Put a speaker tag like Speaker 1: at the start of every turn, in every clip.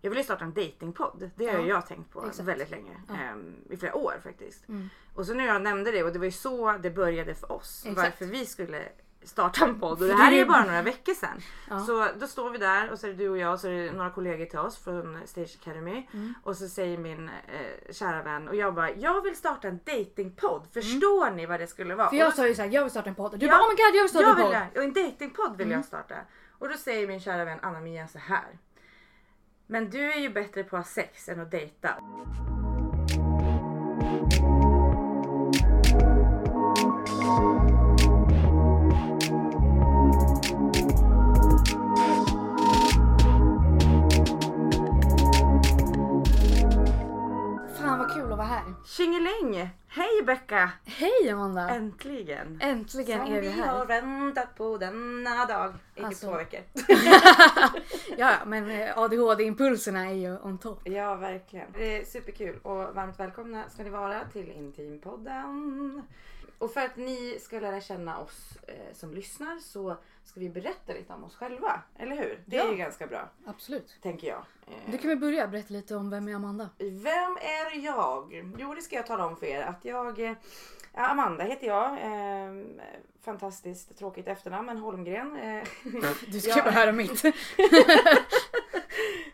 Speaker 1: Jag vill ju starta en datingpodd. Det har
Speaker 2: Ja,
Speaker 1: ju jag tänkt på
Speaker 2: exakt.
Speaker 1: väldigt länge.
Speaker 2: Ja.
Speaker 1: ehm, I flera år faktiskt.
Speaker 2: Mm.
Speaker 1: Och så nu jag nämnde det och det var ju så det började för oss.
Speaker 2: Exakt.
Speaker 1: Varför vi skulle starta en podd. Och det
Speaker 2: För
Speaker 1: här
Speaker 2: det-
Speaker 1: är ju bara några veckor sedan.
Speaker 2: Ja.
Speaker 1: Så då står vi där och så är det du och jag och så är det några kollegor till oss från Stage Academy.
Speaker 2: Mm.
Speaker 1: Och så säger min eh, kära vän och jag bara jag vill starta en datingpodd. Förstår ni vad det skulle vara?
Speaker 2: Mm. För
Speaker 1: Och
Speaker 2: jag
Speaker 1: då-
Speaker 2: sa ju såhär, jag vill starta en podd. Du
Speaker 1: Ja,
Speaker 2: bara oh my god jag vill starta
Speaker 1: jag
Speaker 2: en
Speaker 1: vill
Speaker 2: podd. Mm.
Speaker 1: det. Och en datingpodd vill jag starta. Och då säger min kära vän Anna-Mia så här. Men du är ju bättre på att ha sex än att dejta.
Speaker 2: Fan vad kul att vara här.
Speaker 1: Tjingeling! Hej Becka!
Speaker 2: Hej Amanda!
Speaker 1: Äntligen!
Speaker 2: Äntligen
Speaker 1: Som
Speaker 2: är vi
Speaker 1: vi
Speaker 2: här.
Speaker 1: har väntat på denna dag i typ
Speaker 2: Alltså.
Speaker 1: två veckor.
Speaker 2: Ja, ja, men eh, ADHD-impulserna är ju on top.
Speaker 1: ja, verkligen. Det är superkul och varmt välkomna ska ni vara till Intimpodden. Och för att ni ska lära känna oss eh, som lyssnar så ska vi berätta lite om oss själva, eller hur? Det
Speaker 2: Ja.
Speaker 1: är ju ganska bra,
Speaker 2: Absolut.
Speaker 1: tänker jag. Eh,
Speaker 2: Du kan väl börja berätta lite om vem är Amanda?
Speaker 1: Vem är jag? Jo, det ska jag tala om för er. Att jag, eh, ja, Amanda heter jag. Eh, fantastiskt tråkigt efternamn, men Holmgren. Eh,
Speaker 2: Du ska
Speaker 1: Ja.
Speaker 2: ju bara höra mitt.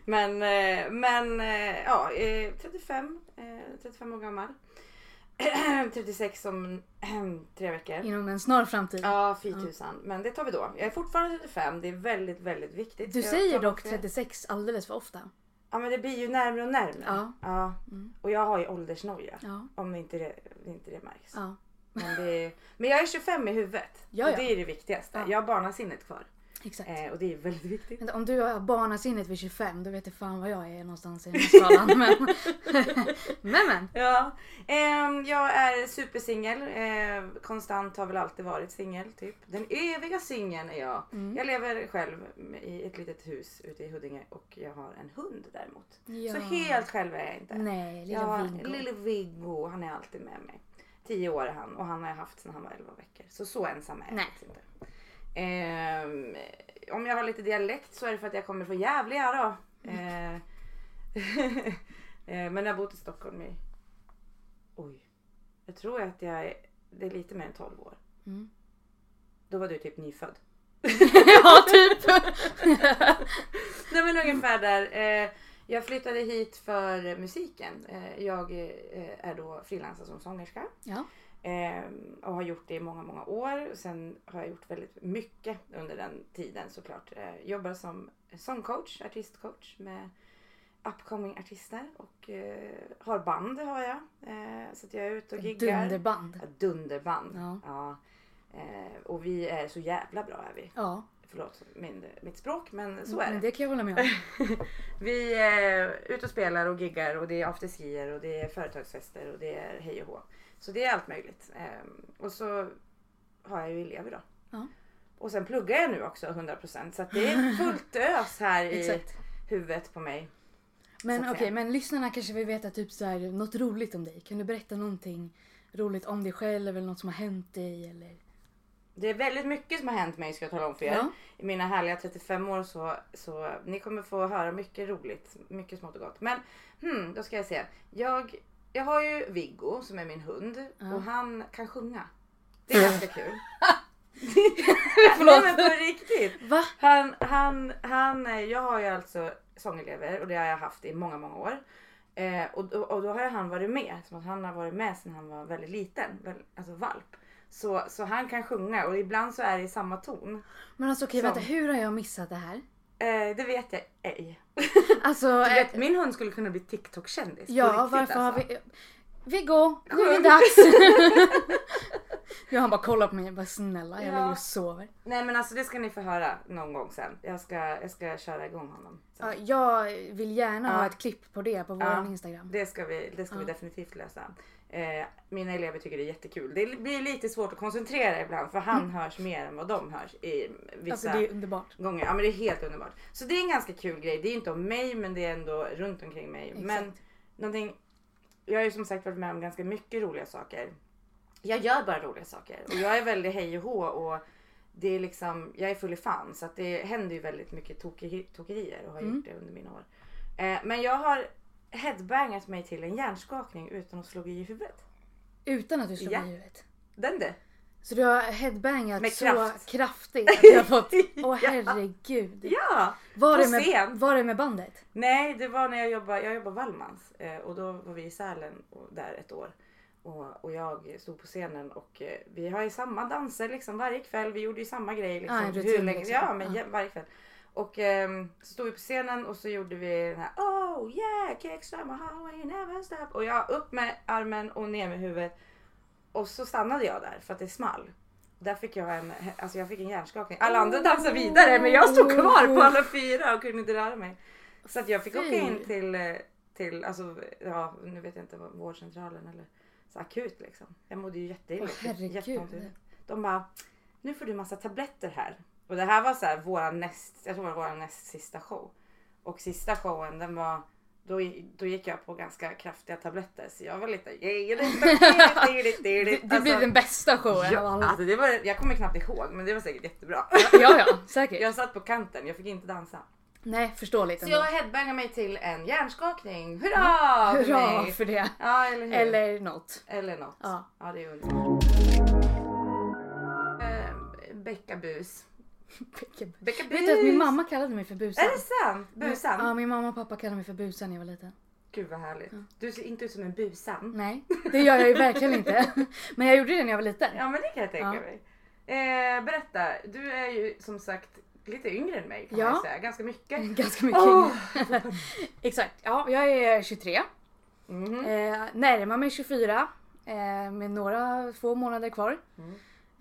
Speaker 1: men eh, men eh, ja, eh, 35, eh, 35 år gammal. 36 om tre veckor.
Speaker 2: Inom en snar framtid.
Speaker 1: Ja, fy tusan. Men det tar vi då. Jag är fortfarande 35. Det är väldigt, väldigt viktigt.
Speaker 2: Du
Speaker 1: Jag
Speaker 2: säger
Speaker 1: tar
Speaker 2: dock
Speaker 1: det.
Speaker 2: 36 alldeles för ofta.
Speaker 1: Ja, men det blir ju närmare och närmare.
Speaker 2: Ja. Mm.
Speaker 1: ja. Och jag har ju åldersnoja.
Speaker 2: Ja.
Speaker 1: Om inte det, inte det märks.
Speaker 2: ja.
Speaker 1: Men, det är, men jag är 25 i huvudet.
Speaker 2: Ja, ja.
Speaker 1: Och det är det viktigaste.
Speaker 2: Ja.
Speaker 1: Jag har barnasinnet kvar.
Speaker 2: Exakt.
Speaker 1: Eh, och det är väldigt viktigt.
Speaker 2: Vänta, Om du har barnasinnet vid 25 då vet du fan vad jag är någonstans i den här skalan. Men men. men.
Speaker 1: Ja. Ehm, jag är supersingel. Eh, konstant har väl alltid varit singel. Typ. Den eviga singeln är jag.
Speaker 2: Mm.
Speaker 1: Jag lever själv i ett litet hus ute i Huddinge och jag har en hund däremot.
Speaker 2: Ja.
Speaker 1: Så helt själv är jag inte.
Speaker 2: Nej, lilla
Speaker 1: ja,
Speaker 2: Viggo.
Speaker 1: Lille Viggo, han är alltid med mig. Tio år är han och han har jag haft sedan han var 11 veckor. Så så ensam är jag
Speaker 2: Nej.
Speaker 1: faktiskt inte. Ehm, om jag har lite dialekt så är det för att jag kommer från Gävle då. Eh, eh, men jag har bott i Stockholm i... Oj. Jag tror att jag är... Det är lite mer än 12 år.
Speaker 2: Mm.
Speaker 1: Då var du typ nyfödd.
Speaker 2: ja typ.
Speaker 1: Nej men ungefär där. Eh, jag flyttade hit för musiken. Eh, jag eh, är då frilansare som sångerska.
Speaker 2: ja.
Speaker 1: Ehm, och har gjort det i många, många år. Sen har jag gjort väldigt mycket under den tiden såklart. Eh, jobbar som sångcoach, artistcoach med upcoming artister och eh, har band har jag. Eh, så att jag är ute och giggar.
Speaker 2: Dunderband.
Speaker 1: Ja, Dunderband.
Speaker 2: Ja.
Speaker 1: Ja. Eh, och vi är så jävla bra är vi.
Speaker 2: Ja.
Speaker 1: Förlåt min, mitt språk men så är
Speaker 2: Men
Speaker 1: det.
Speaker 2: det kan jag hålla med om.
Speaker 1: Vi är ute och spelar och giggar och det är afterskier och det är företagsfester och det är hej och hå. Så det är allt möjligt. Ehm, Och så har jag ju elever då.
Speaker 2: Ja.
Speaker 1: Och sen pluggar jag nu också 100% så att det är fullt ös här i
Speaker 2: Exakt.
Speaker 1: huvudet på mig.
Speaker 2: Men
Speaker 1: så att
Speaker 2: okej,
Speaker 1: säga.
Speaker 2: men lyssnarna kanske vill veta typ så här, något roligt om dig. Kan du berätta någonting roligt om dig själv eller något som har hänt dig? Eller?
Speaker 1: Det är väldigt mycket som har hänt mig ska jag tala om för er.
Speaker 2: Ja.
Speaker 1: I mina härliga 35 år så, så ni kommer få höra mycket roligt, mycket smått och gott. Men hmm, då ska jag se. Jag, jag har ju Viggo som är min hund och han kan sjunga. Det är ganska kul. Nej men på riktigt.
Speaker 2: Va?
Speaker 1: Han, han, han, eh, jag har ju alltså sångelever och det har jag haft i många, många år. Eh, och, då- och då har ju han varit med, som att han har varit med sedan han var väldigt liten, väl, alltså valp. Så, så han kan sjunga och ibland så är det i samma ton.
Speaker 2: Men alltså okej,
Speaker 1: Som.
Speaker 2: vänta hur har jag missat det här?
Speaker 1: Eh, det vet jag ej.
Speaker 2: Alltså,
Speaker 1: Du
Speaker 2: eh,
Speaker 1: vet, min hund skulle kunna bli TikTok-kändis. på
Speaker 2: ja
Speaker 1: riktigt,
Speaker 2: varför har
Speaker 1: alltså.
Speaker 2: vi... Viggo, nu är
Speaker 1: Sjung.
Speaker 2: det dags! ja, han bara kollar på mig och bara snälla jag
Speaker 1: Ja.
Speaker 2: ligger och sover.
Speaker 1: Nej men alltså det ska ni få höra någon gång sen. Jag ska, jag ska köra igång honom. sen.
Speaker 2: Ja, jag vill gärna ha
Speaker 1: Ja.
Speaker 2: ett klipp på det på vår
Speaker 1: Ja.
Speaker 2: Instagram.
Speaker 1: Det ska vi, det ska vi definitivt lösa. Eh, mina elever tycker det är jättekul. Det blir lite svårt att koncentrera ibland för han hörs mer än vad de hörs i vissa
Speaker 2: Mm. Alltså det är underbart.
Speaker 1: gånger. Ja men det är helt underbart. Så det är en ganska kul grej. Det är inte om mig men det är ändå runt omkring mig.
Speaker 2: Exakt.
Speaker 1: Men någonting, jag har ju som sagt varit med om ganska mycket roliga saker. Jag gör bara roliga saker och jag är väldigt hej och hå och det är liksom, jag är full i fan så att det händer ju väldigt mycket toki- tokerier och har gjort det under mina år. Eh, men jag har headbangat mig till en hjärnskakning utan att slå i huvudet.
Speaker 2: Utan att du slog
Speaker 1: Ja.
Speaker 2: i huvudet.
Speaker 1: Den du.
Speaker 2: Så du har headbangat
Speaker 1: Med
Speaker 2: så
Speaker 1: kraft.
Speaker 2: kraftigt att du har fått... Åh
Speaker 1: Ja.
Speaker 2: herregud.
Speaker 1: Ja!
Speaker 2: Var,
Speaker 1: på
Speaker 2: det med,
Speaker 1: scen.
Speaker 2: var det med bandet?
Speaker 1: Nej, det var när jag jobbade, jag jobbade Wallmans eh, och då var vi i Sälen och, där ett år. Och, och jag stod på scenen och eh, vi har ju samma danser liksom varje kväll. Vi gjorde ju samma grej liksom.
Speaker 2: Ja, en rutin, liksom.
Speaker 1: Ja, men
Speaker 2: Ja.
Speaker 1: jä- varje kväll. Och ehm, så stod vi på scenen och så gjorde vi den här Oh yeah, kicks down my highway never stop. Och jag upp med armen och ner med huvudet. Och så stannade jag där för att det small. Där fick jag en, alltså jag fick en hjärnskakning. Alla andra dansade vidare men jag stod kvar på alla fyra och kunde inte röra mig. Så att jag fick åka in
Speaker 2: Fy.
Speaker 1: till, eh, till alltså, ja, nu vet jag inte vad, vårdcentralen eller så akut liksom. Jag mådde ju jätteilla. typ
Speaker 2: Åh, herregud.
Speaker 1: Jätteont i huvudet. De bara, nu får du massa tabletter här. Och det här var så här vår näst, jag tror det var vår näst sista show. Och sista showen den var, då, gi- då gick jag på ganska kraftiga tabletter så jag var lite...
Speaker 2: Det, det blir den bästa showen av
Speaker 1: alltså- Ja,
Speaker 2: alla.
Speaker 1: alltså det var, jag kommer knappt ihåg men det var säkert jättebra.
Speaker 2: Ja, ja, säkert.
Speaker 1: Jag satt på kanten, jag fick inte dansa.
Speaker 2: Nej, förståeligt
Speaker 1: Så
Speaker 2: ändå.
Speaker 1: jag headbangar mig till en hjärnskakning. Hurra! för
Speaker 2: Hurra
Speaker 1: mig!
Speaker 2: för det.
Speaker 1: Ja, eller hur?
Speaker 2: Eller något.
Speaker 1: Eller något.
Speaker 2: Ja.
Speaker 1: Ja, det är underbart. Eh, Beckabus. Beckabus!
Speaker 2: Vet du att min mamma kallade mig för busan?
Speaker 1: Är det sant? Busan?
Speaker 2: Ja, min mamma och pappa kallade mig för busan när jag var liten.
Speaker 1: Gud vad härligt. Du ser inte ut som en busan.
Speaker 2: Nej, det gör jag ju verkligen inte. Men jag gjorde det när jag var liten.
Speaker 1: Ja men det kan jag tänka
Speaker 2: Ja.
Speaker 1: mig. Eh, berätta, du är ju som sagt lite yngre än mig kan
Speaker 2: Ja. Mm.
Speaker 1: man ju säga. Ganska mycket.
Speaker 2: Ganska mycket.
Speaker 1: Åh!
Speaker 2: Exakt. Ja, jag är 23.
Speaker 1: Mhm.
Speaker 2: Eh, närmar mig 24. Eh, med några få månader kvar.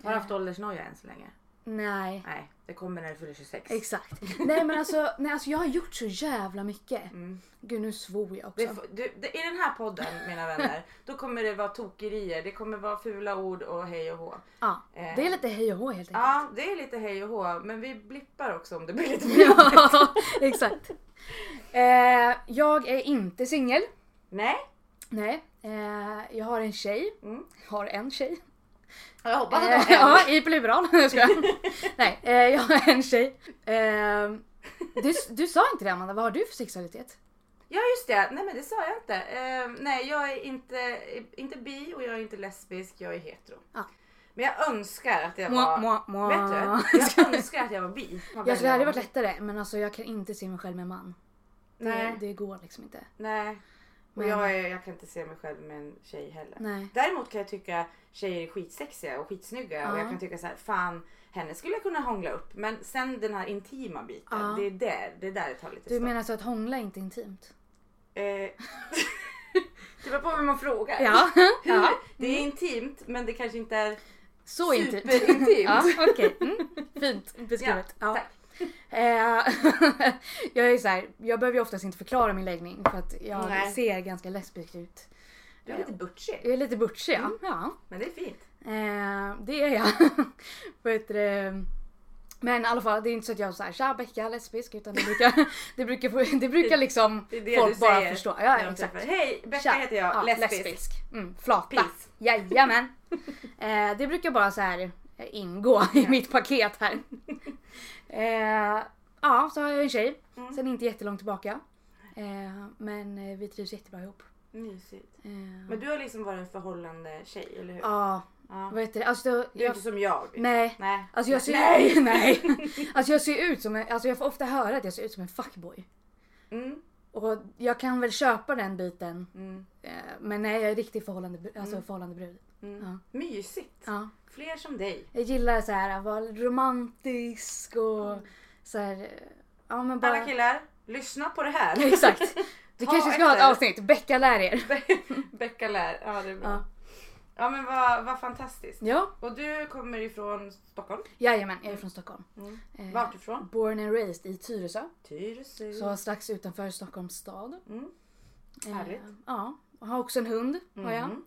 Speaker 1: Har du haft åldersnoja än så länge?
Speaker 2: Nej.
Speaker 1: Nej, det kommer när du fyller 26.
Speaker 2: Exakt. Nej men alltså, nej, alltså jag har gjort så jävla mycket.
Speaker 1: Mm.
Speaker 2: Gud nu svor jag också.
Speaker 1: Det, får- du, det, I den här podden mina vänner, då kommer det vara tokerier, det kommer vara fula ord och hej och hå.
Speaker 2: ja,
Speaker 1: eh.
Speaker 2: Ah,
Speaker 1: Ah,
Speaker 2: det är lite hej och hå helt enkelt.
Speaker 1: Ja, det är lite hej och hå, men vi blippar också om det blir lite fula ord.
Speaker 2: Ja, exakt. Eh, jag är inte singel.
Speaker 1: Nej,
Speaker 2: Nej. Eh, jag har en tjej.
Speaker 1: Mm.
Speaker 2: Har en tjej.
Speaker 1: jag hoppas att
Speaker 2: Eh,
Speaker 1: det var en.
Speaker 2: ja, i plural. Jag skojar. Nej, eh, jag har en tjej. Eh, du, du sa inte det Amanda, vad har du för sexualitet?
Speaker 1: Ja just det, nej men det sa jag inte. Eh, nej jag är inte, inte bi och jag är inte lesbisk, jag är hetero.
Speaker 2: Ja.
Speaker 1: Men jag önskar att jag
Speaker 2: Mua,
Speaker 1: var...
Speaker 2: mua, mua.
Speaker 1: Vet du? Jag önskar att jag var bi. Man
Speaker 2: Jag tror det
Speaker 1: väljer
Speaker 2: hade
Speaker 1: att
Speaker 2: varit
Speaker 1: vara bi.
Speaker 2: lättare men alltså jag kan inte se mig själv med en man. Det,
Speaker 1: Nej,
Speaker 2: det går liksom inte.
Speaker 1: nej. Och
Speaker 2: Men-
Speaker 1: jag, är, jag kan inte se mig själv med en tjej heller.
Speaker 2: Nej.
Speaker 1: Däremot kan jag tycka tjejer är skitsexiga och skitsnygga och
Speaker 2: Ja.
Speaker 1: jag kan tycka så här, fan henne skulle jag kunna hångla upp. Men sen den här intima biten,
Speaker 2: Ja.
Speaker 1: det är där det, är där det tar lite
Speaker 2: Du
Speaker 1: stopp.
Speaker 2: menar så att hångla är inte intimt?
Speaker 1: Eh, det beror på vem man frågar.
Speaker 2: Ja.
Speaker 1: Hur?
Speaker 2: ja. Mm.
Speaker 1: Det är intimt men det kanske inte är
Speaker 2: Så intimt.
Speaker 1: Superintimt.
Speaker 2: ja, okej. Mm. Fint beskrivet.
Speaker 1: Ja, tack.
Speaker 2: Eh, jag är så här, jag behöver ju oftast inte förklara min läggning för att jag
Speaker 1: Nej.
Speaker 2: ser ganska lesbisk ut.
Speaker 1: Du är lite butchig.
Speaker 2: Jag är lite butchig ja.
Speaker 1: Mm.
Speaker 2: ja.
Speaker 1: Men det är fint.
Speaker 2: Eh, det är jag. Vad heter det? Men i alla fall, det är inte så att jag säger tja Becka är lesbisk utan det brukar, det brukar, få- det brukar liksom
Speaker 1: Det är det
Speaker 2: folk
Speaker 1: du
Speaker 2: bara
Speaker 1: säger
Speaker 2: förstå.
Speaker 1: när
Speaker 2: Ja,
Speaker 1: de
Speaker 2: exakt.
Speaker 1: träffar. Hej, Becka
Speaker 2: Tja.
Speaker 1: heter jag.
Speaker 2: Ja,
Speaker 1: lesbisk.
Speaker 2: Mm, flata.
Speaker 1: Peace.
Speaker 2: Jajamän. Eh, det brukar bara så här eh, ingå i mitt paket här. Eh, ja, så har jag en tjej.
Speaker 1: Mm.
Speaker 2: Sen inte jättelångt tillbaka. Eh, men eh, vi trivs jättebra ihop.
Speaker 1: Mysigt.
Speaker 2: Eh,
Speaker 1: Men du har liksom varit en förhållande tjej, eller hur?
Speaker 2: Ja,
Speaker 1: Ja.
Speaker 2: vad heter det? Alltså, då,
Speaker 1: Du är
Speaker 2: jag,
Speaker 1: inte som jag.
Speaker 2: nej.
Speaker 1: Nej.
Speaker 2: Alltså jag ser,
Speaker 1: Nej!
Speaker 2: nej. Alltså jag ser ut som en, alltså jag får ofta höra att jag ser ut som en fuckboy.
Speaker 1: Mm,
Speaker 2: Och jag kan väl köpa den biten.
Speaker 1: mm,
Speaker 2: eh, Men nej jag är riktigt förhållande, alltså förhållande brud.
Speaker 1: mm.
Speaker 2: Ja.
Speaker 1: Mysigt.
Speaker 2: Ja.
Speaker 1: Fler som dig.
Speaker 2: Jag gillar så här att vara romantisk och så här, eh, ja men bara.
Speaker 1: Mm. Alla killar, lyssna på det här.
Speaker 2: Exakt. Vi
Speaker 1: Ta
Speaker 2: kanske ska ha ett
Speaker 1: efter.
Speaker 2: avsnitt, Becka lär er.
Speaker 1: Becka lär. Ja, det är bra.
Speaker 2: Ja.
Speaker 1: Ja, men vad, vad fantastiskt.
Speaker 2: Ja,
Speaker 1: Och du kommer ifrån Stockholm.
Speaker 2: jajamän, jag är från Stockholm.
Speaker 1: Mm.
Speaker 2: Eh,
Speaker 1: Vart ifrån?
Speaker 2: Born and raised i Tyresö,
Speaker 1: Tyresö.
Speaker 2: så strax utanför Stockholms stad.
Speaker 1: Mm.
Speaker 2: Eh,
Speaker 1: Härligt.
Speaker 2: Ja, och har också en hund. Har jag.
Speaker 1: Mhm.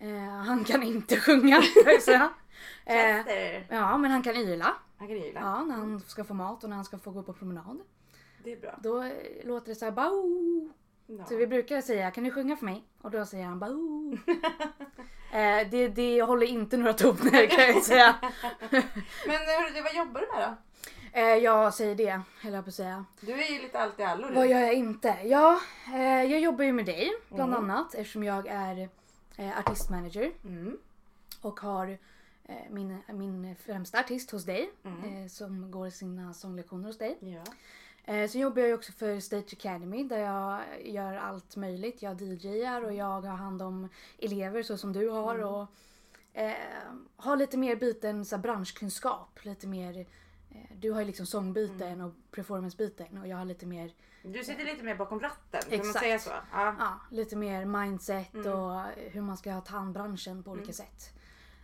Speaker 2: Eh, han kan inte sjunga, kan jag säga. eh,
Speaker 1: Chester.
Speaker 2: Ja, men han kan yla.
Speaker 1: Han kan gilla.
Speaker 2: Ja, när han ska få mat och när han ska få gå på promenad.
Speaker 1: Det är bra.
Speaker 2: Då eh, låter det så här bao.
Speaker 1: Ja.
Speaker 2: Så vi brukar säga kan du sjunga för mig? Och då säger han bao. eh, det, det håller inte några toner kan jag säga.
Speaker 1: Men hörru, du, vad jobbar du med då?
Speaker 2: Eh, jag säger det, höll jag på att säga.
Speaker 1: Du är ju lite allt i allo
Speaker 2: Vad
Speaker 1: du.
Speaker 2: gör jag inte? Ja, eh, jag jobbar ju med dig bland
Speaker 1: Mm.
Speaker 2: annat eftersom jag är eh, artistmanager
Speaker 1: Mm.
Speaker 2: och har eh, min, min främsta artist hos dig
Speaker 1: Mm.
Speaker 2: eh, som går sina sånglektioner hos dig.
Speaker 1: Ja.
Speaker 2: Eh, sen jobbar jag ju också för Stage Academy där jag gör allt möjligt. Jag DJar och jag har hand om elever så som du har
Speaker 1: Mm.
Speaker 2: och eh, har lite mer biten så här, branschkunskap. Lite mer, eh, du har ju liksom sångbiten
Speaker 1: Mm.
Speaker 2: och performancebiten och jag har lite mer
Speaker 1: Du sitter lite mer bakom ratten, kan man
Speaker 2: Exakt.
Speaker 1: säga så? Ja.
Speaker 2: ja, lite mer mindset
Speaker 1: Mm.
Speaker 2: och hur man ska ta hand branschen på olika sätt.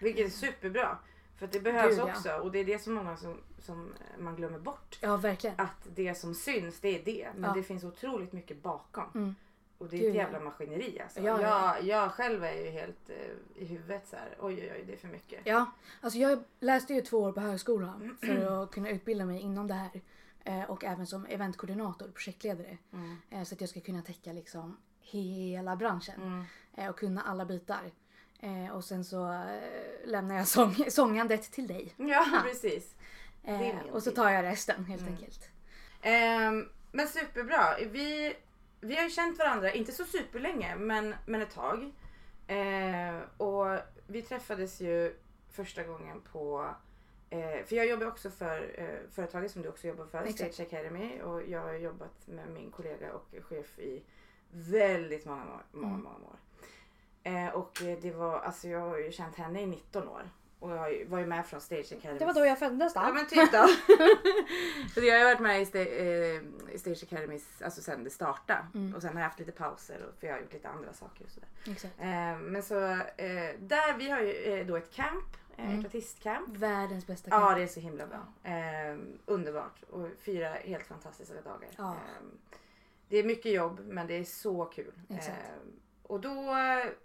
Speaker 1: Vilket är superbra. För att det behövs
Speaker 2: Gud, ja.
Speaker 1: också och det är det som många som, som man glömmer bort.
Speaker 2: Ja, verkligen.
Speaker 1: Att det som syns det är det men
Speaker 2: Ja.
Speaker 1: det finns otroligt mycket bakom.
Speaker 2: Mm.
Speaker 1: Och det är ett
Speaker 2: Gud, ja.
Speaker 1: jävla maskineri alltså.
Speaker 2: Ja, ja.
Speaker 1: Jag, jag själv är ju helt eh, i huvudet så här. oj oj oj det är för mycket.
Speaker 2: Ja, alltså jag läste ju två år på högskola för att kunna utbilda mig inom det här. Eh, Och även som eventkoordinator, projektledare.
Speaker 1: Mm.
Speaker 2: Eh, Så att jag ska kunna täcka liksom hela branschen
Speaker 1: Mm.
Speaker 2: eh, och kunna alla bitar. Eh, Och sen så eh, lämnar jag sång sångandet till dig.
Speaker 1: Ja precis.
Speaker 2: Eh,
Speaker 1: Det är min
Speaker 2: Och så
Speaker 1: tid.
Speaker 2: tar jag resten helt
Speaker 1: Mm.
Speaker 2: enkelt.
Speaker 1: Ehm, men superbra. Vi, vi har ju känt varandra, inte så superlänge men, men ett tag. Ehm, och vi träffades ju första gången på eh, för jag jobbar också för eh, företaget som du också jobbar för,
Speaker 2: Exakt.
Speaker 1: Stage Academy. Och jag har jobbat med min kollega och chef i väldigt många, år- många,
Speaker 2: Mm.
Speaker 1: många år. Eh, och eh, det var, alltså jag har ju känt henne i 19 år. Och jag har ju- var ju med från Stage Academy
Speaker 2: Det var då jag föddes då.
Speaker 1: Ja men typ då. Så jag har varit med i Sta- eh, i Stage Academys, alltså sen det startade.
Speaker 2: Mm.
Speaker 1: Och sen har jag haft lite pauser och- för jag har gjort lite andra saker och sådär.
Speaker 2: Exakt.
Speaker 1: Eh, men så eh, där, vi har ju eh, då ett camp, eh, ett
Speaker 2: Mm.
Speaker 1: artistcamp.
Speaker 2: Världens bästa
Speaker 1: Ja
Speaker 2: kamp.
Speaker 1: det är så himla bra. Eh, underbart och fyra helt fantastiska dagar.
Speaker 2: Ja.
Speaker 1: Eh, det är mycket jobb men det är så kul. Ehm,
Speaker 2: Exakt.
Speaker 1: och då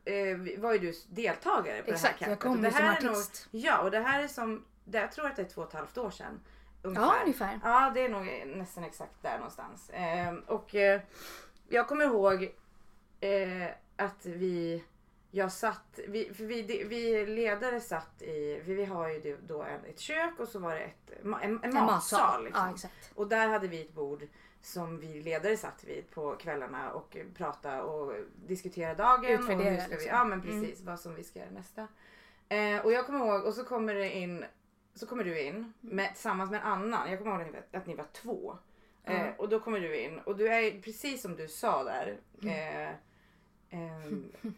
Speaker 1: eh, var ju du deltagare på
Speaker 2: Exakt,
Speaker 1: det här
Speaker 2: jag
Speaker 1: campet. Och
Speaker 2: kom
Speaker 1: det
Speaker 2: ju som
Speaker 1: här är nog-
Speaker 2: artist.
Speaker 1: Ja, och det här är som, det, jag tror att det är två och ett halvt år sedan.
Speaker 2: Ja, ungefär.
Speaker 1: Ja, det är nog nästan exakt där någonstans. Ehm, och eh, jag kommer ihåg eh, att vi, jag satt, vi, för vi, det- vi ledare satt i, vi, vi har ju det- då en, ett kök och så var det ett, ma- en, en
Speaker 2: En
Speaker 1: matsal.
Speaker 2: Ja,
Speaker 1: Liksom.
Speaker 2: exakt.
Speaker 1: Och där hade vi ett bord som vi ledare satt vid på kvällarna och eh, pratade och diskuterade dagen. och
Speaker 2: Utvärdera,
Speaker 1: hur ska vi,
Speaker 2: liksom.
Speaker 1: ja men
Speaker 2: Mm.
Speaker 1: precis, vad som vi ska göra nästa. Eh, och jag kommer ihåg, och så kommer det in, så kommer du in med, tillsammans med en annan. Jag kommer ihåg att ni var, att ni var två. Eh,
Speaker 2: Ja.
Speaker 1: Och då kommer du in och du är precis som du sa där.
Speaker 2: Mm.
Speaker 1: Eh, ehm,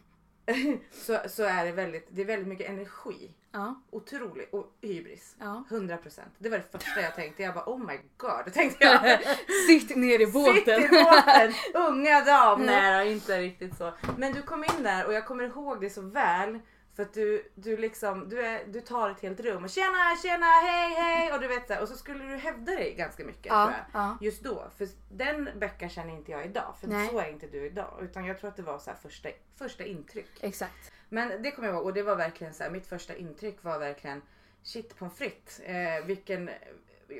Speaker 1: så, så är det väldigt, det är väldigt mycket energi.
Speaker 2: Ja,
Speaker 1: Otroligt. Och hybris.
Speaker 2: ja.
Speaker 1: 100%. Det var det första jag tänkte. Jag bara oh my god. Tänkte jag.
Speaker 2: Sitt ner i
Speaker 1: Sitt i
Speaker 2: båten.
Speaker 1: båten! Unga dam! Nej, inte riktigt så. Men du kom in där och jag kommer ihåg det så väl. För att du, du liksom, du, är, du tar ett helt rum och tjena, tjena, hej, hej och du vet så här, Och så skulle du hävda dig ganska mycket
Speaker 2: Ja,
Speaker 1: tror jag.
Speaker 2: ja.
Speaker 1: Just då, för den Becka känner inte jag idag. För
Speaker 2: Nej.
Speaker 1: så är inte du idag. Utan jag tror att det var så här första, första intryck.
Speaker 2: Exakt.
Speaker 1: Men det kommer jag ihåg och det var verkligen så här, mitt första intryck var verkligen shit pommes frites. Eh, vilken,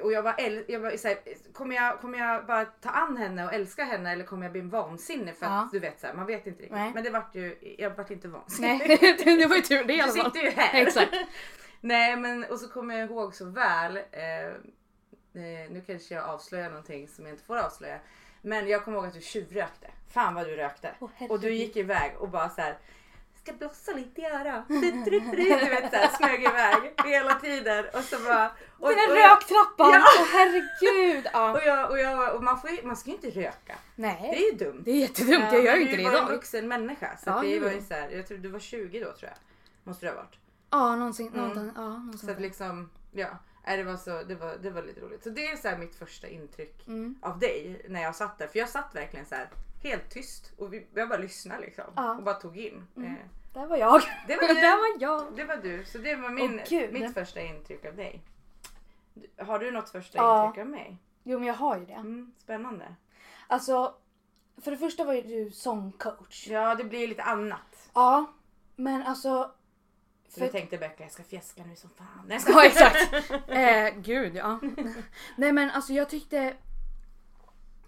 Speaker 1: och jag var, äl, jag var så här, kommer, jag, kommer jag bara ta an henne och älska henne eller kommer jag bli en vansinnig? För
Speaker 2: Ja.
Speaker 1: att du vet så här, man vet inte riktigt.
Speaker 2: Nej.
Speaker 1: Men det vart ju, jag vart inte vansinnig.
Speaker 2: Nej, det var ju tur det i
Speaker 1: Du
Speaker 2: alla fall.
Speaker 1: sitter ju här.
Speaker 2: Alltså. Exakt.
Speaker 1: Nej men och så kommer jag ihåg så väl. Eh, eh, nu kanske jag avslöjar någonting som jag inte får avslöja. Men jag kommer ihåg att du tjuvrökte. Fan vad du rökte.
Speaker 2: Åh, herregud.
Speaker 1: och du gick iväg och bara så här. Ska blossa lite i örat. Du, du, du, du vet såhär smög iväg hela tiden. Och så bara. Och,
Speaker 2: Den
Speaker 1: och
Speaker 2: där
Speaker 1: jag,
Speaker 2: röktrappan!
Speaker 1: Ja.
Speaker 2: Åh herregud! Ja.
Speaker 1: och, jag, och, jag, och man, får, ju- man ska ju inte röka. Det
Speaker 2: Nej,
Speaker 1: är ju dumt.
Speaker 2: det är jättedumt. Jag
Speaker 1: Eh,
Speaker 2: gör
Speaker 1: men
Speaker 2: ju inte
Speaker 1: du
Speaker 2: det
Speaker 1: var en
Speaker 2: idag.
Speaker 1: vuxen människa. Så
Speaker 2: Ja,
Speaker 1: att det
Speaker 2: jo,
Speaker 1: var
Speaker 2: jo.
Speaker 1: ju så här, jag tror du var 20 då tror jag. Måste du ha varit.
Speaker 2: Ja, någonsin.
Speaker 1: Mm.
Speaker 2: någonstans- Ja, någonsin.
Speaker 1: Så att liksom, ja. Nej, Det var, så, det, var, det var lite roligt. Så det är så här mitt första intryck
Speaker 2: Mm.
Speaker 1: av dig när jag satt där. För jag satt verkligen så här helt tyst och vi, jag bara lyssnade liksom.
Speaker 2: Ja.
Speaker 1: Och bara tog in. Eh,
Speaker 2: Där var jag.
Speaker 1: Det var
Speaker 2: Där
Speaker 1: du.
Speaker 2: var jag.
Speaker 1: Det var du. Så det var min,
Speaker 2: Åh, gud.
Speaker 1: mitt första intryck av dig. Du- Har du något första
Speaker 2: Ja.
Speaker 1: intryck av mig?
Speaker 2: Jo men jag har ju det.
Speaker 1: Mm, spännande.
Speaker 2: Alltså, för det första var ju du sångcoach.
Speaker 1: Ja det blir lite annat.
Speaker 2: Ja, men alltså...
Speaker 1: Så
Speaker 2: För-
Speaker 1: du tänkte Becka jag ska fjäska nu som fan. Nej, jag ska-
Speaker 2: Ja exakt. Eh, gud ja. Nej men alltså jag tyckte...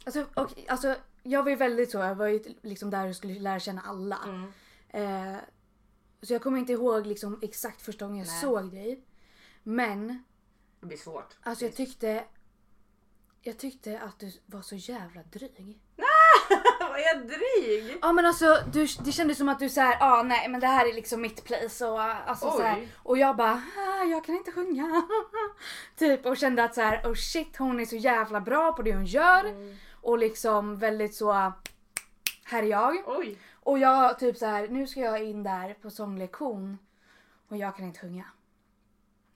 Speaker 2: Alltså, och, alltså jag var ju väldigt så, jag var ju liksom där och skulle lära känna alla.
Speaker 1: Mm.
Speaker 2: Eh, så jag kommer inte ihåg liksom exakt första gången jag
Speaker 1: Nej.
Speaker 2: såg dig. Men
Speaker 1: Det blir svårt.
Speaker 2: alltså jag tyckte Jag tyckte att du var så jävla dryg.
Speaker 1: Vad är jag dryg?
Speaker 2: Ja men alltså du, det kändes som att du såhär, ja ah, nej men det här är liksom mitt place och ah, alltså
Speaker 1: Oj.
Speaker 2: såhär. Och jag bara, ah, jag kan inte sjunga. typ och kände att såhär, oh shit hon är så jävla bra på det hon gör. Och liksom väldigt så, ah, här är jag.
Speaker 1: Oj.
Speaker 2: Och jag typ så här, nu ska jag in där på sånglektion och jag kan inte sjunga.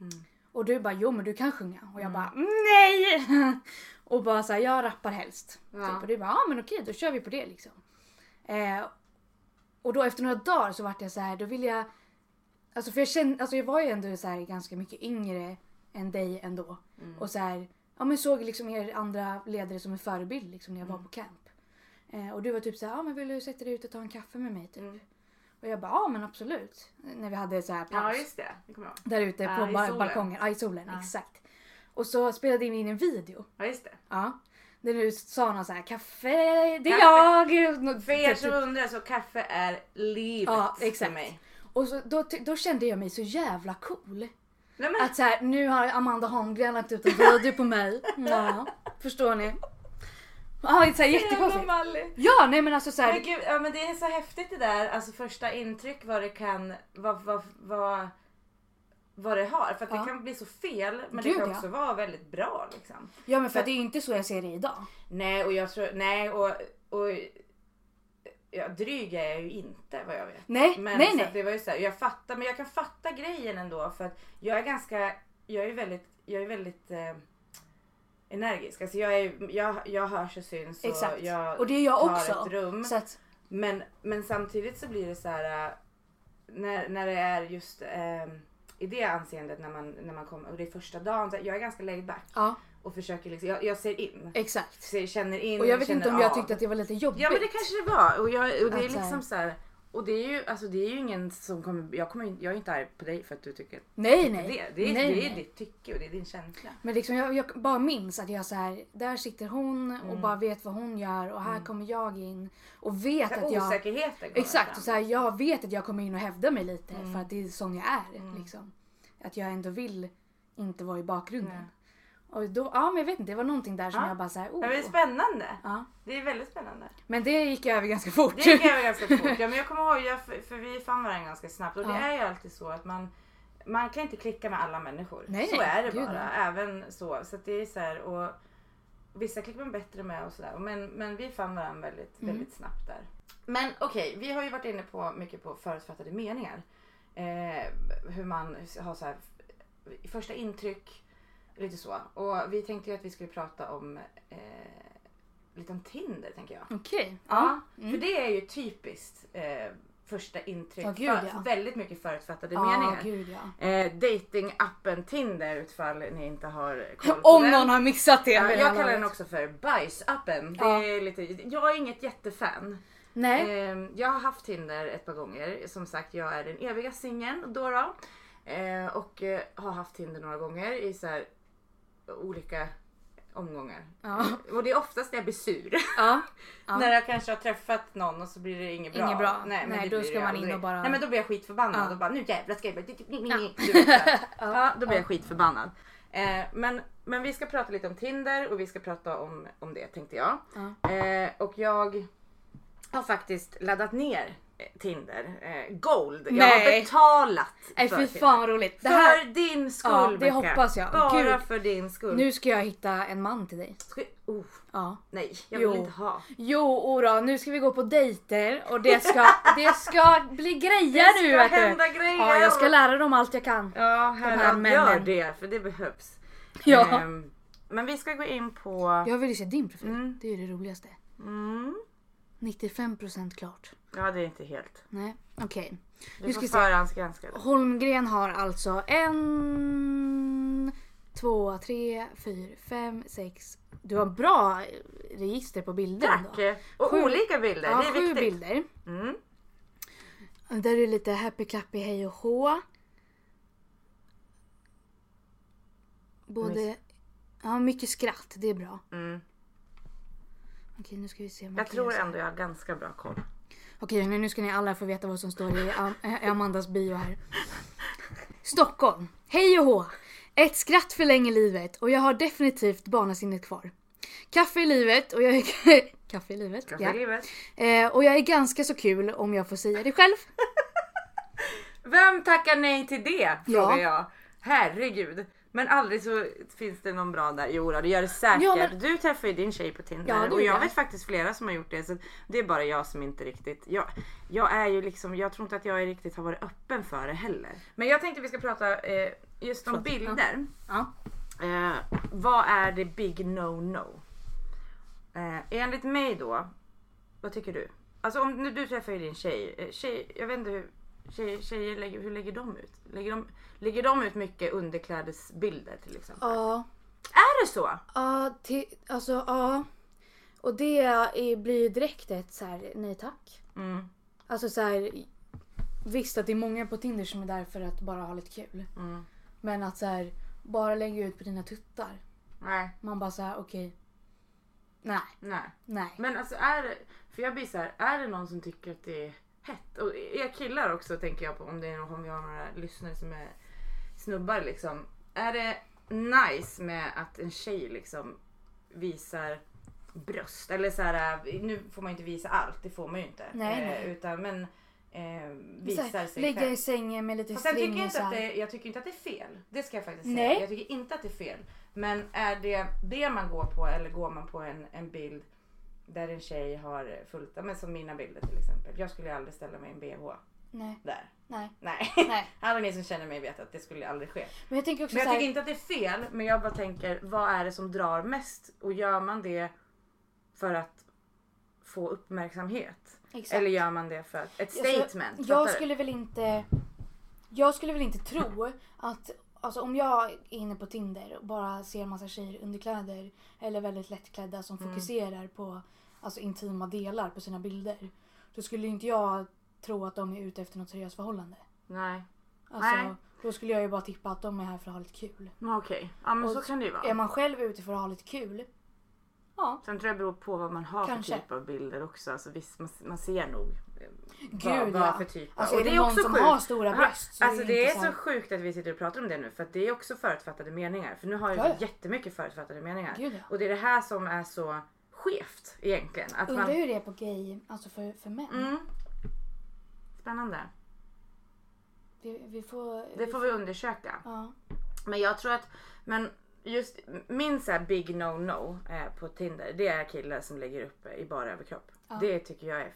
Speaker 1: Mm.
Speaker 2: Och du bara, jo men du kan sjunga. Och jag bara, nej! Och bara så här, jag rappar helst.
Speaker 1: Ja.
Speaker 2: Typ. Och du bara, ja men okej då kör vi på det liksom. Eh, och då efter några dagar så vart jag så här, då ville jag, alltså för jag kände, alltså jag var ju ändå så här ganska mycket yngre än dig ändå.
Speaker 1: Mm.
Speaker 2: Och så här, ja men såg liksom er andra ledare som en förebild liksom när jag
Speaker 1: Mm.
Speaker 2: var på camp. Eh, och du var typ så här, ja men vill du sätta dig ut och ta en kaffe med mig typ?
Speaker 1: Mm.
Speaker 2: Och jag bara, ja men absolut. När vi hade så här paus
Speaker 1: Ja just det, det kommer jag ihåg.
Speaker 2: där ute på
Speaker 1: Ja, i
Speaker 2: ba-
Speaker 1: solen.
Speaker 2: balkongen. Ja, i solen.
Speaker 1: Ja.
Speaker 2: Exakt. Och så spelade vi in en video.
Speaker 1: Ja just det.
Speaker 2: Ja. Där du sa någon så här kaffe, det är
Speaker 1: Kaffe.
Speaker 2: jag. Nå-
Speaker 1: För er
Speaker 2: typ-
Speaker 1: som undrar så kaffe är livet
Speaker 2: Ja, exakt.
Speaker 1: för mig.
Speaker 2: Och så, då, ty- då kände jag mig så jävla cool.
Speaker 1: Nej, men,
Speaker 2: Att så här, nu har Amanda Holmgren lagt ut en video på mig. Ja, förstår ni? Ja, det är så här jättekonstigt.
Speaker 1: Mallig.
Speaker 2: Ja, nej men alltså så
Speaker 1: Men
Speaker 2: här,
Speaker 1: gud, ja, men det är så häftigt det där, alltså första intryck vad det kan, vad, vad, vad, vad det har. För att
Speaker 2: Ja.
Speaker 1: det kan bli så fel men
Speaker 2: Gud,
Speaker 1: det kan
Speaker 2: ja.
Speaker 1: också vara väldigt bra liksom.
Speaker 2: ja men för det är ju inte så jag ser det idag.
Speaker 1: Nej och jag tror, nej och, och ja, dryg är jag ju inte vad jag vet.
Speaker 2: Nej,
Speaker 1: Men
Speaker 2: nej,
Speaker 1: så
Speaker 2: nej.
Speaker 1: Att det var ju så här, jag fattar, men jag kan fatta grejen ändå för att jag är ganska, jag är väldigt, jag är väldigt eh, energisk. Alltså jag, är, jag, jag hörs och syns och
Speaker 2: Exakt.
Speaker 1: jag
Speaker 2: Och det är jag
Speaker 1: tar
Speaker 2: också.
Speaker 1: ett rum.
Speaker 2: Så att,
Speaker 1: Men, men samtidigt så blir det så här äh, när, när det är just eh, i det anseendet när man, när man kommer och det är första dagen. Så här, jag är ganska laid back
Speaker 2: ja,
Speaker 1: och försöker liksom, jag, jag ser in.
Speaker 2: exakt.
Speaker 1: Ser, känner in
Speaker 2: Och jag vet inte
Speaker 1: känner
Speaker 2: om jag
Speaker 1: av.
Speaker 2: tyckte att det var lite jobbigt.
Speaker 1: Ja men det kanske det var och, jag, och det är
Speaker 2: Att så här-
Speaker 1: liksom så här. Och det är ju, alltså det är ju ingen som kommer, jag, kommer, ju- jag är inte arg på dig för att du tycker att
Speaker 2: Nej, nej.
Speaker 1: det. Det är,
Speaker 2: nej,
Speaker 1: det är
Speaker 2: nej.
Speaker 1: ditt tycke och det är din känsla.
Speaker 2: Men liksom jag, jag bara minns att jag så här, där sitter hon
Speaker 1: Mm.
Speaker 2: och bara vet vad hon gör och här kommer jag in och vet
Speaker 1: Den
Speaker 2: att jag...
Speaker 1: Osäkerheten kommer
Speaker 2: Exakt,
Speaker 1: fram.
Speaker 2: och så här, jag vet att jag kommer in och hävda mig lite
Speaker 1: Mm.
Speaker 2: för att det är sån jag är. Liksom. Att jag ändå vill inte vara i bakgrunden.
Speaker 1: Nej.
Speaker 2: Och då, ja men jag vet inte, det var någonting där som
Speaker 1: Ja.
Speaker 2: jag bara såhär, oh.
Speaker 1: Men det är spännande.
Speaker 2: ja.
Speaker 1: Det är väldigt spännande.
Speaker 2: Men det gick över ganska fort.
Speaker 1: Det gick över ganska fort. Ja, men jag kommer ihåg, jag, för, för vi fann varandra ganska snabbt. Och
Speaker 2: Ja.
Speaker 1: det är ju alltid så att man, man kan inte klicka med alla människor.
Speaker 2: Nej,
Speaker 1: så
Speaker 2: nej,
Speaker 1: är det
Speaker 2: gud,
Speaker 1: bara.
Speaker 2: nej.
Speaker 1: Även så. Så att det är så här, och vissa klickar man bättre med och sådär. Men, men vi fann varandra väldigt,
Speaker 2: Mm.
Speaker 1: väldigt snabbt där. Men okej, vi har ju varit inne på mycket på förutfattade meningar. Eh, hur man har så här, första intryck, lite så. Och vi tänkte ju att vi skulle prata om eh, lite om Tinder tänker jag.
Speaker 2: Okej.
Speaker 1: Ja, för det är ju typiskt eh, första intryck.
Speaker 2: Mm. Ja, gud,
Speaker 1: För-
Speaker 2: ja.
Speaker 1: Väldigt mycket förutfattade
Speaker 2: Ja,
Speaker 1: meningar.
Speaker 2: gud ja.
Speaker 1: Eh, Datingappen Tinder utfall ni inte har koll på
Speaker 2: Om
Speaker 1: den.
Speaker 2: någon har missat det.
Speaker 1: Ja,
Speaker 2: vid det här
Speaker 1: jag kallar den
Speaker 2: laget.
Speaker 1: också för bajsappen. Det
Speaker 2: Ja.
Speaker 1: är lite, jag är inget jättefan.
Speaker 2: Nej.
Speaker 1: Eh, jag har haft Tinder ett par gånger. Som sagt, jag är den eviga singeln då. då. Eh, och eh, har haft Tinder några gånger i så här, olika omgångar.
Speaker 2: Ja.
Speaker 1: Och det är oftast när jag blir sur.
Speaker 2: Ja. Ja.
Speaker 1: När jag kanske har träffat någon och så blir det inget bra.
Speaker 2: Inget bra.
Speaker 1: Nej, men
Speaker 2: Nej,
Speaker 1: det
Speaker 2: då
Speaker 1: blir
Speaker 2: ska
Speaker 1: det
Speaker 2: man in
Speaker 1: aldrig.
Speaker 2: och bara-
Speaker 1: Nej men då blir jag skitförbannad
Speaker 2: Ja.
Speaker 1: och bara nu jävlar ska jag bara... Du vet, så här. ja, då blir jag skitförbannad. Eh, men, men vi ska prata lite om Tinder och vi ska prata om, om det tänkte jag.
Speaker 2: Ja.
Speaker 1: Eh, och jag har faktiskt laddat ner eh, Tinder. Eh, gold. Jag har
Speaker 2: Nej.
Speaker 1: betalat
Speaker 2: Nej
Speaker 1: för
Speaker 2: fy
Speaker 1: Tinder.
Speaker 2: fan vad roligt. Det
Speaker 1: För
Speaker 2: här,
Speaker 1: din skull
Speaker 2: Ja, det
Speaker 1: Becka.
Speaker 2: hoppas jag.
Speaker 1: Bara
Speaker 2: Gud.
Speaker 1: för din skull.
Speaker 2: Nu ska jag hitta en man till dig.
Speaker 1: Ska- Oh,
Speaker 2: Ja.
Speaker 1: nej, jag
Speaker 2: Jo.
Speaker 1: vill inte ha.
Speaker 2: Jo, ora, nu ska vi gå på dejter och det ska, det ska bli grejer
Speaker 1: Det
Speaker 2: nu
Speaker 1: ska
Speaker 2: vet du.
Speaker 1: hända grejer.
Speaker 2: Ja, jag ska lära dem allt jag kan.
Speaker 1: Ja,
Speaker 2: här
Speaker 1: herregud.
Speaker 2: männen.
Speaker 1: Gör det, för det behövs.
Speaker 2: Ja.
Speaker 1: Ehm, men vi ska gå in på...
Speaker 2: Jag vill ju se din profil.
Speaker 1: Mm.
Speaker 2: Det är ju det roligaste.
Speaker 1: Mm.
Speaker 2: 95% klart.
Speaker 1: Ja, det är inte helt.
Speaker 2: Nej, okej.
Speaker 1: Du får
Speaker 2: Nu ska vi se.
Speaker 1: förhandsgranska det.
Speaker 2: Holmgren har alltså en, två, tre, fyra, fem, sex. Du har bra register på bilder
Speaker 1: Tack! Och
Speaker 2: Sju-
Speaker 1: olika bilder,
Speaker 2: Ja,
Speaker 1: det är
Speaker 2: sju
Speaker 1: viktigt.
Speaker 2: bilder.
Speaker 1: Mm.
Speaker 2: Där är det lite happy clappy hej och hå. Både...
Speaker 1: Mys.
Speaker 2: Ja, mycket skratt. Det är bra.
Speaker 1: Mm.
Speaker 2: Okej, nu ska vi se. om man
Speaker 1: Jag
Speaker 2: kan
Speaker 1: tror
Speaker 2: göra så här.
Speaker 1: ändå jag har ganska bra koll.
Speaker 2: Okej, hörni, nu ska ni alla få veta vad som står i Am- eh, Amandas bio här. Stockholm. Hej och hå! Ett skratt förlänger livet och jag har definitivt barnasinnet kvar. Kaffe i livet och jag är... Kaffe i livet,
Speaker 1: Kaffe
Speaker 2: ja.
Speaker 1: i livet.
Speaker 2: Eh, och jag är ganska så kul om jag får säga det själv.
Speaker 1: Vem tackar nej till det? Frågar
Speaker 2: Ja.
Speaker 1: jag. Herregud. Men aldrig så finns det någon bra där. Jo, då, det gör det säkert.
Speaker 2: Ja, men-
Speaker 1: Du träffar ju din tjej på Tinder
Speaker 2: Ja, det
Speaker 1: och
Speaker 2: gjorde
Speaker 1: jag
Speaker 2: jag.
Speaker 1: vet faktiskt flera som har gjort det. Så det är bara jag som inte riktigt. Jag, jag är ju liksom, jag tror inte att jag riktigt har varit öppen för det heller. Men jag tänkte vi ska prata eh, just om
Speaker 2: Förlåt.
Speaker 1: bilder.
Speaker 2: Ja.
Speaker 1: Eh, vad är det big no-no? Eh, enligt mig då, vad tycker du? Alltså om nu, du träffar ju din tjej, eh, tjej jag vet inte hur tjej, tjejer lägger, hur lägger de ut? Lägger de, lägger de ut mycket underklädesbilder till exempel?
Speaker 2: Ja,
Speaker 1: Är det så?
Speaker 2: ja, till- alltså ja. Och det är, blir ju direkt ett så här, nej tack.
Speaker 1: Mm,
Speaker 2: Alltså så här, visst att det är många på Tinder som är där för att bara ha lite kul.
Speaker 1: mm.
Speaker 2: Men att så här, bara lägga ut på dina tuttar.
Speaker 1: Nej,
Speaker 2: Man bara så här, okej. Nej,
Speaker 1: nej.
Speaker 2: nej.
Speaker 1: Men alltså är det, för jag blir så här, är det någon som tycker att det är hett? Och er killar också tänker jag på om, det är, någon- om vi har några lyssnare som är snubbar liksom. Är det nice med att en tjej liksom visar bröst? Eller så här, nu får man ju inte visa allt, det får man ju inte.
Speaker 2: Nej,
Speaker 1: Eh,
Speaker 2: nej.
Speaker 1: Utan men eh,
Speaker 2: Så
Speaker 1: visar
Speaker 2: här,
Speaker 1: sig
Speaker 2: Ligga
Speaker 1: själv.
Speaker 2: i sängen med lite
Speaker 1: Fast sen
Speaker 2: string
Speaker 1: tycker jag,
Speaker 2: och
Speaker 1: inte
Speaker 2: så
Speaker 1: att
Speaker 2: här.
Speaker 1: det, jag tycker inte att det är fel. Det ska jag faktiskt säga.
Speaker 2: Nej.
Speaker 1: Jag tycker inte att det är fel. Men är det det man går på eller går man på en, en bild där en tjej har fullt, ja, men som mina bilder till exempel. Jag skulle ju aldrig ställa mig i en bh
Speaker 2: Nej,
Speaker 1: där.
Speaker 2: nej,
Speaker 1: Nej.
Speaker 2: nej.
Speaker 1: Alla ni som känner mig vet att det skulle aldrig ske.
Speaker 2: Men jag tänker också
Speaker 1: Men jag
Speaker 2: så här,
Speaker 1: tycker inte att det är fel. Men jag bara tänker, vad är det som drar mest? Och gör man det för att få uppmärksamhet?
Speaker 2: exakt.
Speaker 1: Eller gör man det för ett
Speaker 2: Alltså,
Speaker 1: statement? Fattar
Speaker 2: jag
Speaker 1: du?
Speaker 2: skulle väl inte... Jag skulle väl inte tro att... Alltså om jag är inne på Tinder och bara ser en massa tjejer i underkläder eller väldigt lättklädda som
Speaker 1: Mm.
Speaker 2: fokuserar på alltså, intima delar på sina bilder. Då skulle inte jag tro att de är ute efter något seriöst förhållande.
Speaker 1: Nej.
Speaker 2: Alltså,
Speaker 1: Nej.
Speaker 2: Då skulle jag ju bara tippa att de är här för att ha lite kul.
Speaker 1: Men Okej, ja men
Speaker 2: Och
Speaker 1: så kan det ju vara.
Speaker 2: Är man själv ute för att ha lite kul? Ja.
Speaker 1: Sen tror jag det beror på vad man har
Speaker 2: Kanske.
Speaker 1: för typ av bilder också. Alltså visst, man, man ser nog eh,
Speaker 2: Gud
Speaker 1: vad,
Speaker 2: ja.
Speaker 1: vad för typ av-
Speaker 2: Alltså är det, någon som har stora
Speaker 1: Ja,
Speaker 2: bröst så
Speaker 1: alltså det är
Speaker 2: inte
Speaker 1: så sjukt att vi sitter och pratar om det nu för att det är också förutfattade meningar. För nu har jag
Speaker 2: Ja, ja.
Speaker 1: ju jättemycket förutfattade meningar.
Speaker 2: Gud, ja.
Speaker 1: Och det är det här som är så skevt egentligen. Att
Speaker 2: Undrar
Speaker 1: man...
Speaker 2: hur det är på gay, alltså för, för män.
Speaker 1: mm. Spännande.
Speaker 2: Vi, vi får...
Speaker 1: Det får vi undersöka.
Speaker 2: Ja.
Speaker 1: Men jag tror att, men just min så här big no no eh, på Tinder det är killar som lägger upp eh, i bara överkropp.
Speaker 2: Ja.
Speaker 1: Det tycker jag är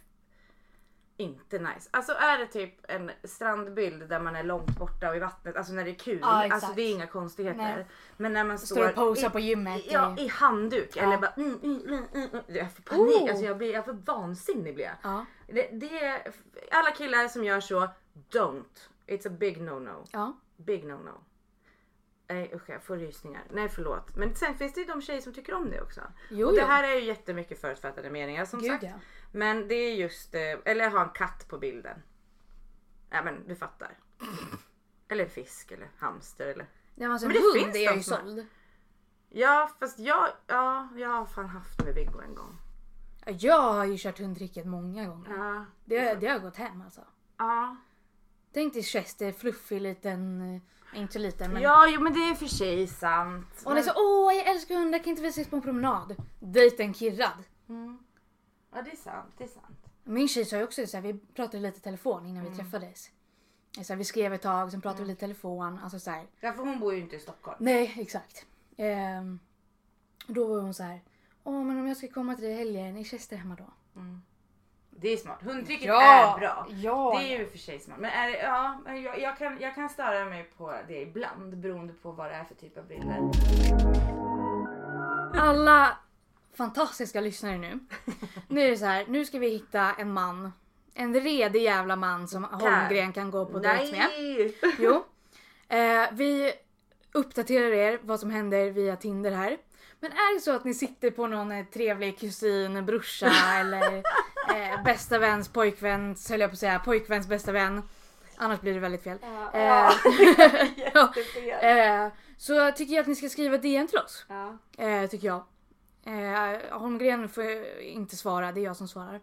Speaker 1: inte nice. Alltså är det typ en strandbild där man är långt borta och i vattnet, alltså när det är kul,
Speaker 2: Ja, exakt.
Speaker 1: alltså det är inga konstigheter.
Speaker 2: Nej.
Speaker 1: Men när man står,
Speaker 2: Står och posar
Speaker 1: i,
Speaker 2: på gymmet.
Speaker 1: ja, i handduk eller bara mm, mm, mm, mm, mm. jag får panik,
Speaker 2: Oh.
Speaker 1: alltså jag blir, jag får vansinnig blir jag.
Speaker 2: ja.
Speaker 1: Det, det är, alla killar som gör så, don't. It's a big no no.
Speaker 2: ja.
Speaker 1: Big no no. Nej usch jag får rysningar. Nej förlåt. Men sen finns det ju de tjejer som tycker om det också.
Speaker 2: Jo,
Speaker 1: och det
Speaker 2: jo.
Speaker 1: här är ju jättemycket förutfattade meningar som
Speaker 2: Gud
Speaker 1: sagt.
Speaker 2: ja.
Speaker 1: Men det är just, eh, eller ha en katt på bilden. Ja men du fattar. Eller en fisk eller hamster eller.
Speaker 2: Nej, men alltså,
Speaker 1: Men
Speaker 2: en
Speaker 1: det
Speaker 2: hund
Speaker 1: finns
Speaker 2: är jag
Speaker 1: de
Speaker 2: ju
Speaker 1: som-
Speaker 2: såld.
Speaker 1: Ja fast jag, ja jag har fan haft med Viggo en gång.
Speaker 2: Ja, Jag har ju kört hundriket många gånger.
Speaker 1: Ja.
Speaker 2: Det, det har gått hem alltså.
Speaker 1: Ja.
Speaker 2: Tänk dig Chester, fluffig liten, eh, inte så liten men.
Speaker 1: Ja jo men det är för sig sant.
Speaker 2: Och det är så åh jag älskar hundar, kan inte vi ses på en promenad? Dejten kirrad.
Speaker 1: Mm. Ja det är sant, det är sant.
Speaker 2: Min tjej sa ju också det, så här, vi pratade lite i telefon innan
Speaker 1: Mm.
Speaker 2: vi träffades. Så här, vi skrev ett tag, sen pratade vi lite i telefon. Alltså så här,
Speaker 1: Ja för hon bor ju inte i Stockholm.
Speaker 2: Nej, exakt. Ehm, då var hon så här. Åh, men om jag ska komma till dig i helgen, är Chester hemma då?
Speaker 1: Det är smart. Hundtricket är bra.
Speaker 2: Ja!
Speaker 1: Det är ju i och för sig smart. Men är det, ja, men jag, jag, kan, jag kan störa mig på det ibland beroende på vad det är för typ av bilder.
Speaker 2: Alla fantastiska lyssnare nu. Nu är det så här, nu ska vi hitta en man. En redig jävla man som Holmgren kan gå på dejt med.
Speaker 1: Nej!
Speaker 2: Jo. Eh, vi uppdaterar er vad som händer via Tinder här. Men är det så att ni sitter på någon eh, trevlig kusin, brorsa eller eh, bästa väns pojkväns, höll jag på att säga, pojkväns bästa vän. Annars blir det väldigt fel. Eh,
Speaker 1: Ja,
Speaker 2: ja.
Speaker 1: jättefel.
Speaker 2: Eh, så tycker jag att ni ska skriva DM till oss.
Speaker 1: Ja.
Speaker 2: Eh, tycker jag. Eh, Holmgren får inte svara, det är jag som svarar.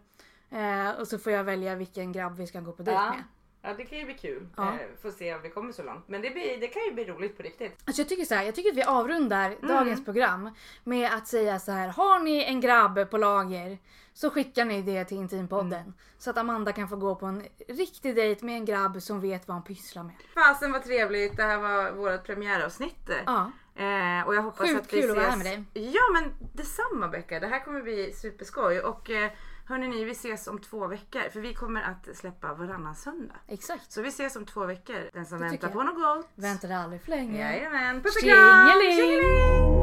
Speaker 2: Eh, och så får jag välja vilken grabb vi ska gå på dejt
Speaker 1: Ja.
Speaker 2: med.
Speaker 1: Ja, Ja det kan ju bli kul.
Speaker 2: Ja.
Speaker 1: Eh, får se om vi kommer så långt. Men det, blir, det kan ju bli roligt på riktigt.
Speaker 2: Alltså jag tycker så här, jag tycker att vi avrundar dagens program med att säga så här. Har ni en grabb på lager så skickar ni det till Intimpodden. Så att Amanda kan få gå på en riktig dejt med en grabb som vet vad han pysslar med.
Speaker 1: Fasen vad trevligt. Det här var vårt premiäravsnitt.
Speaker 2: Ja.
Speaker 1: Eh, och jag hoppas
Speaker 2: Sjukt
Speaker 1: att vi ses.
Speaker 2: kul att vara här med dig.
Speaker 1: Ja men detsamma Becka. Det här kommer bli superskoj. Och eh, hörni ni, vi ses om två veckor. För vi kommer att släppa varannan söndag.
Speaker 2: Exakt.
Speaker 1: Så vi ses om två veckor. Den som
Speaker 2: Det
Speaker 1: väntar
Speaker 2: tycker
Speaker 1: på något gott.
Speaker 2: Väntar aldrig för länge.
Speaker 1: Jajamän. Puss och kram.
Speaker 2: Tjingeling!
Speaker 1: Tjingeling!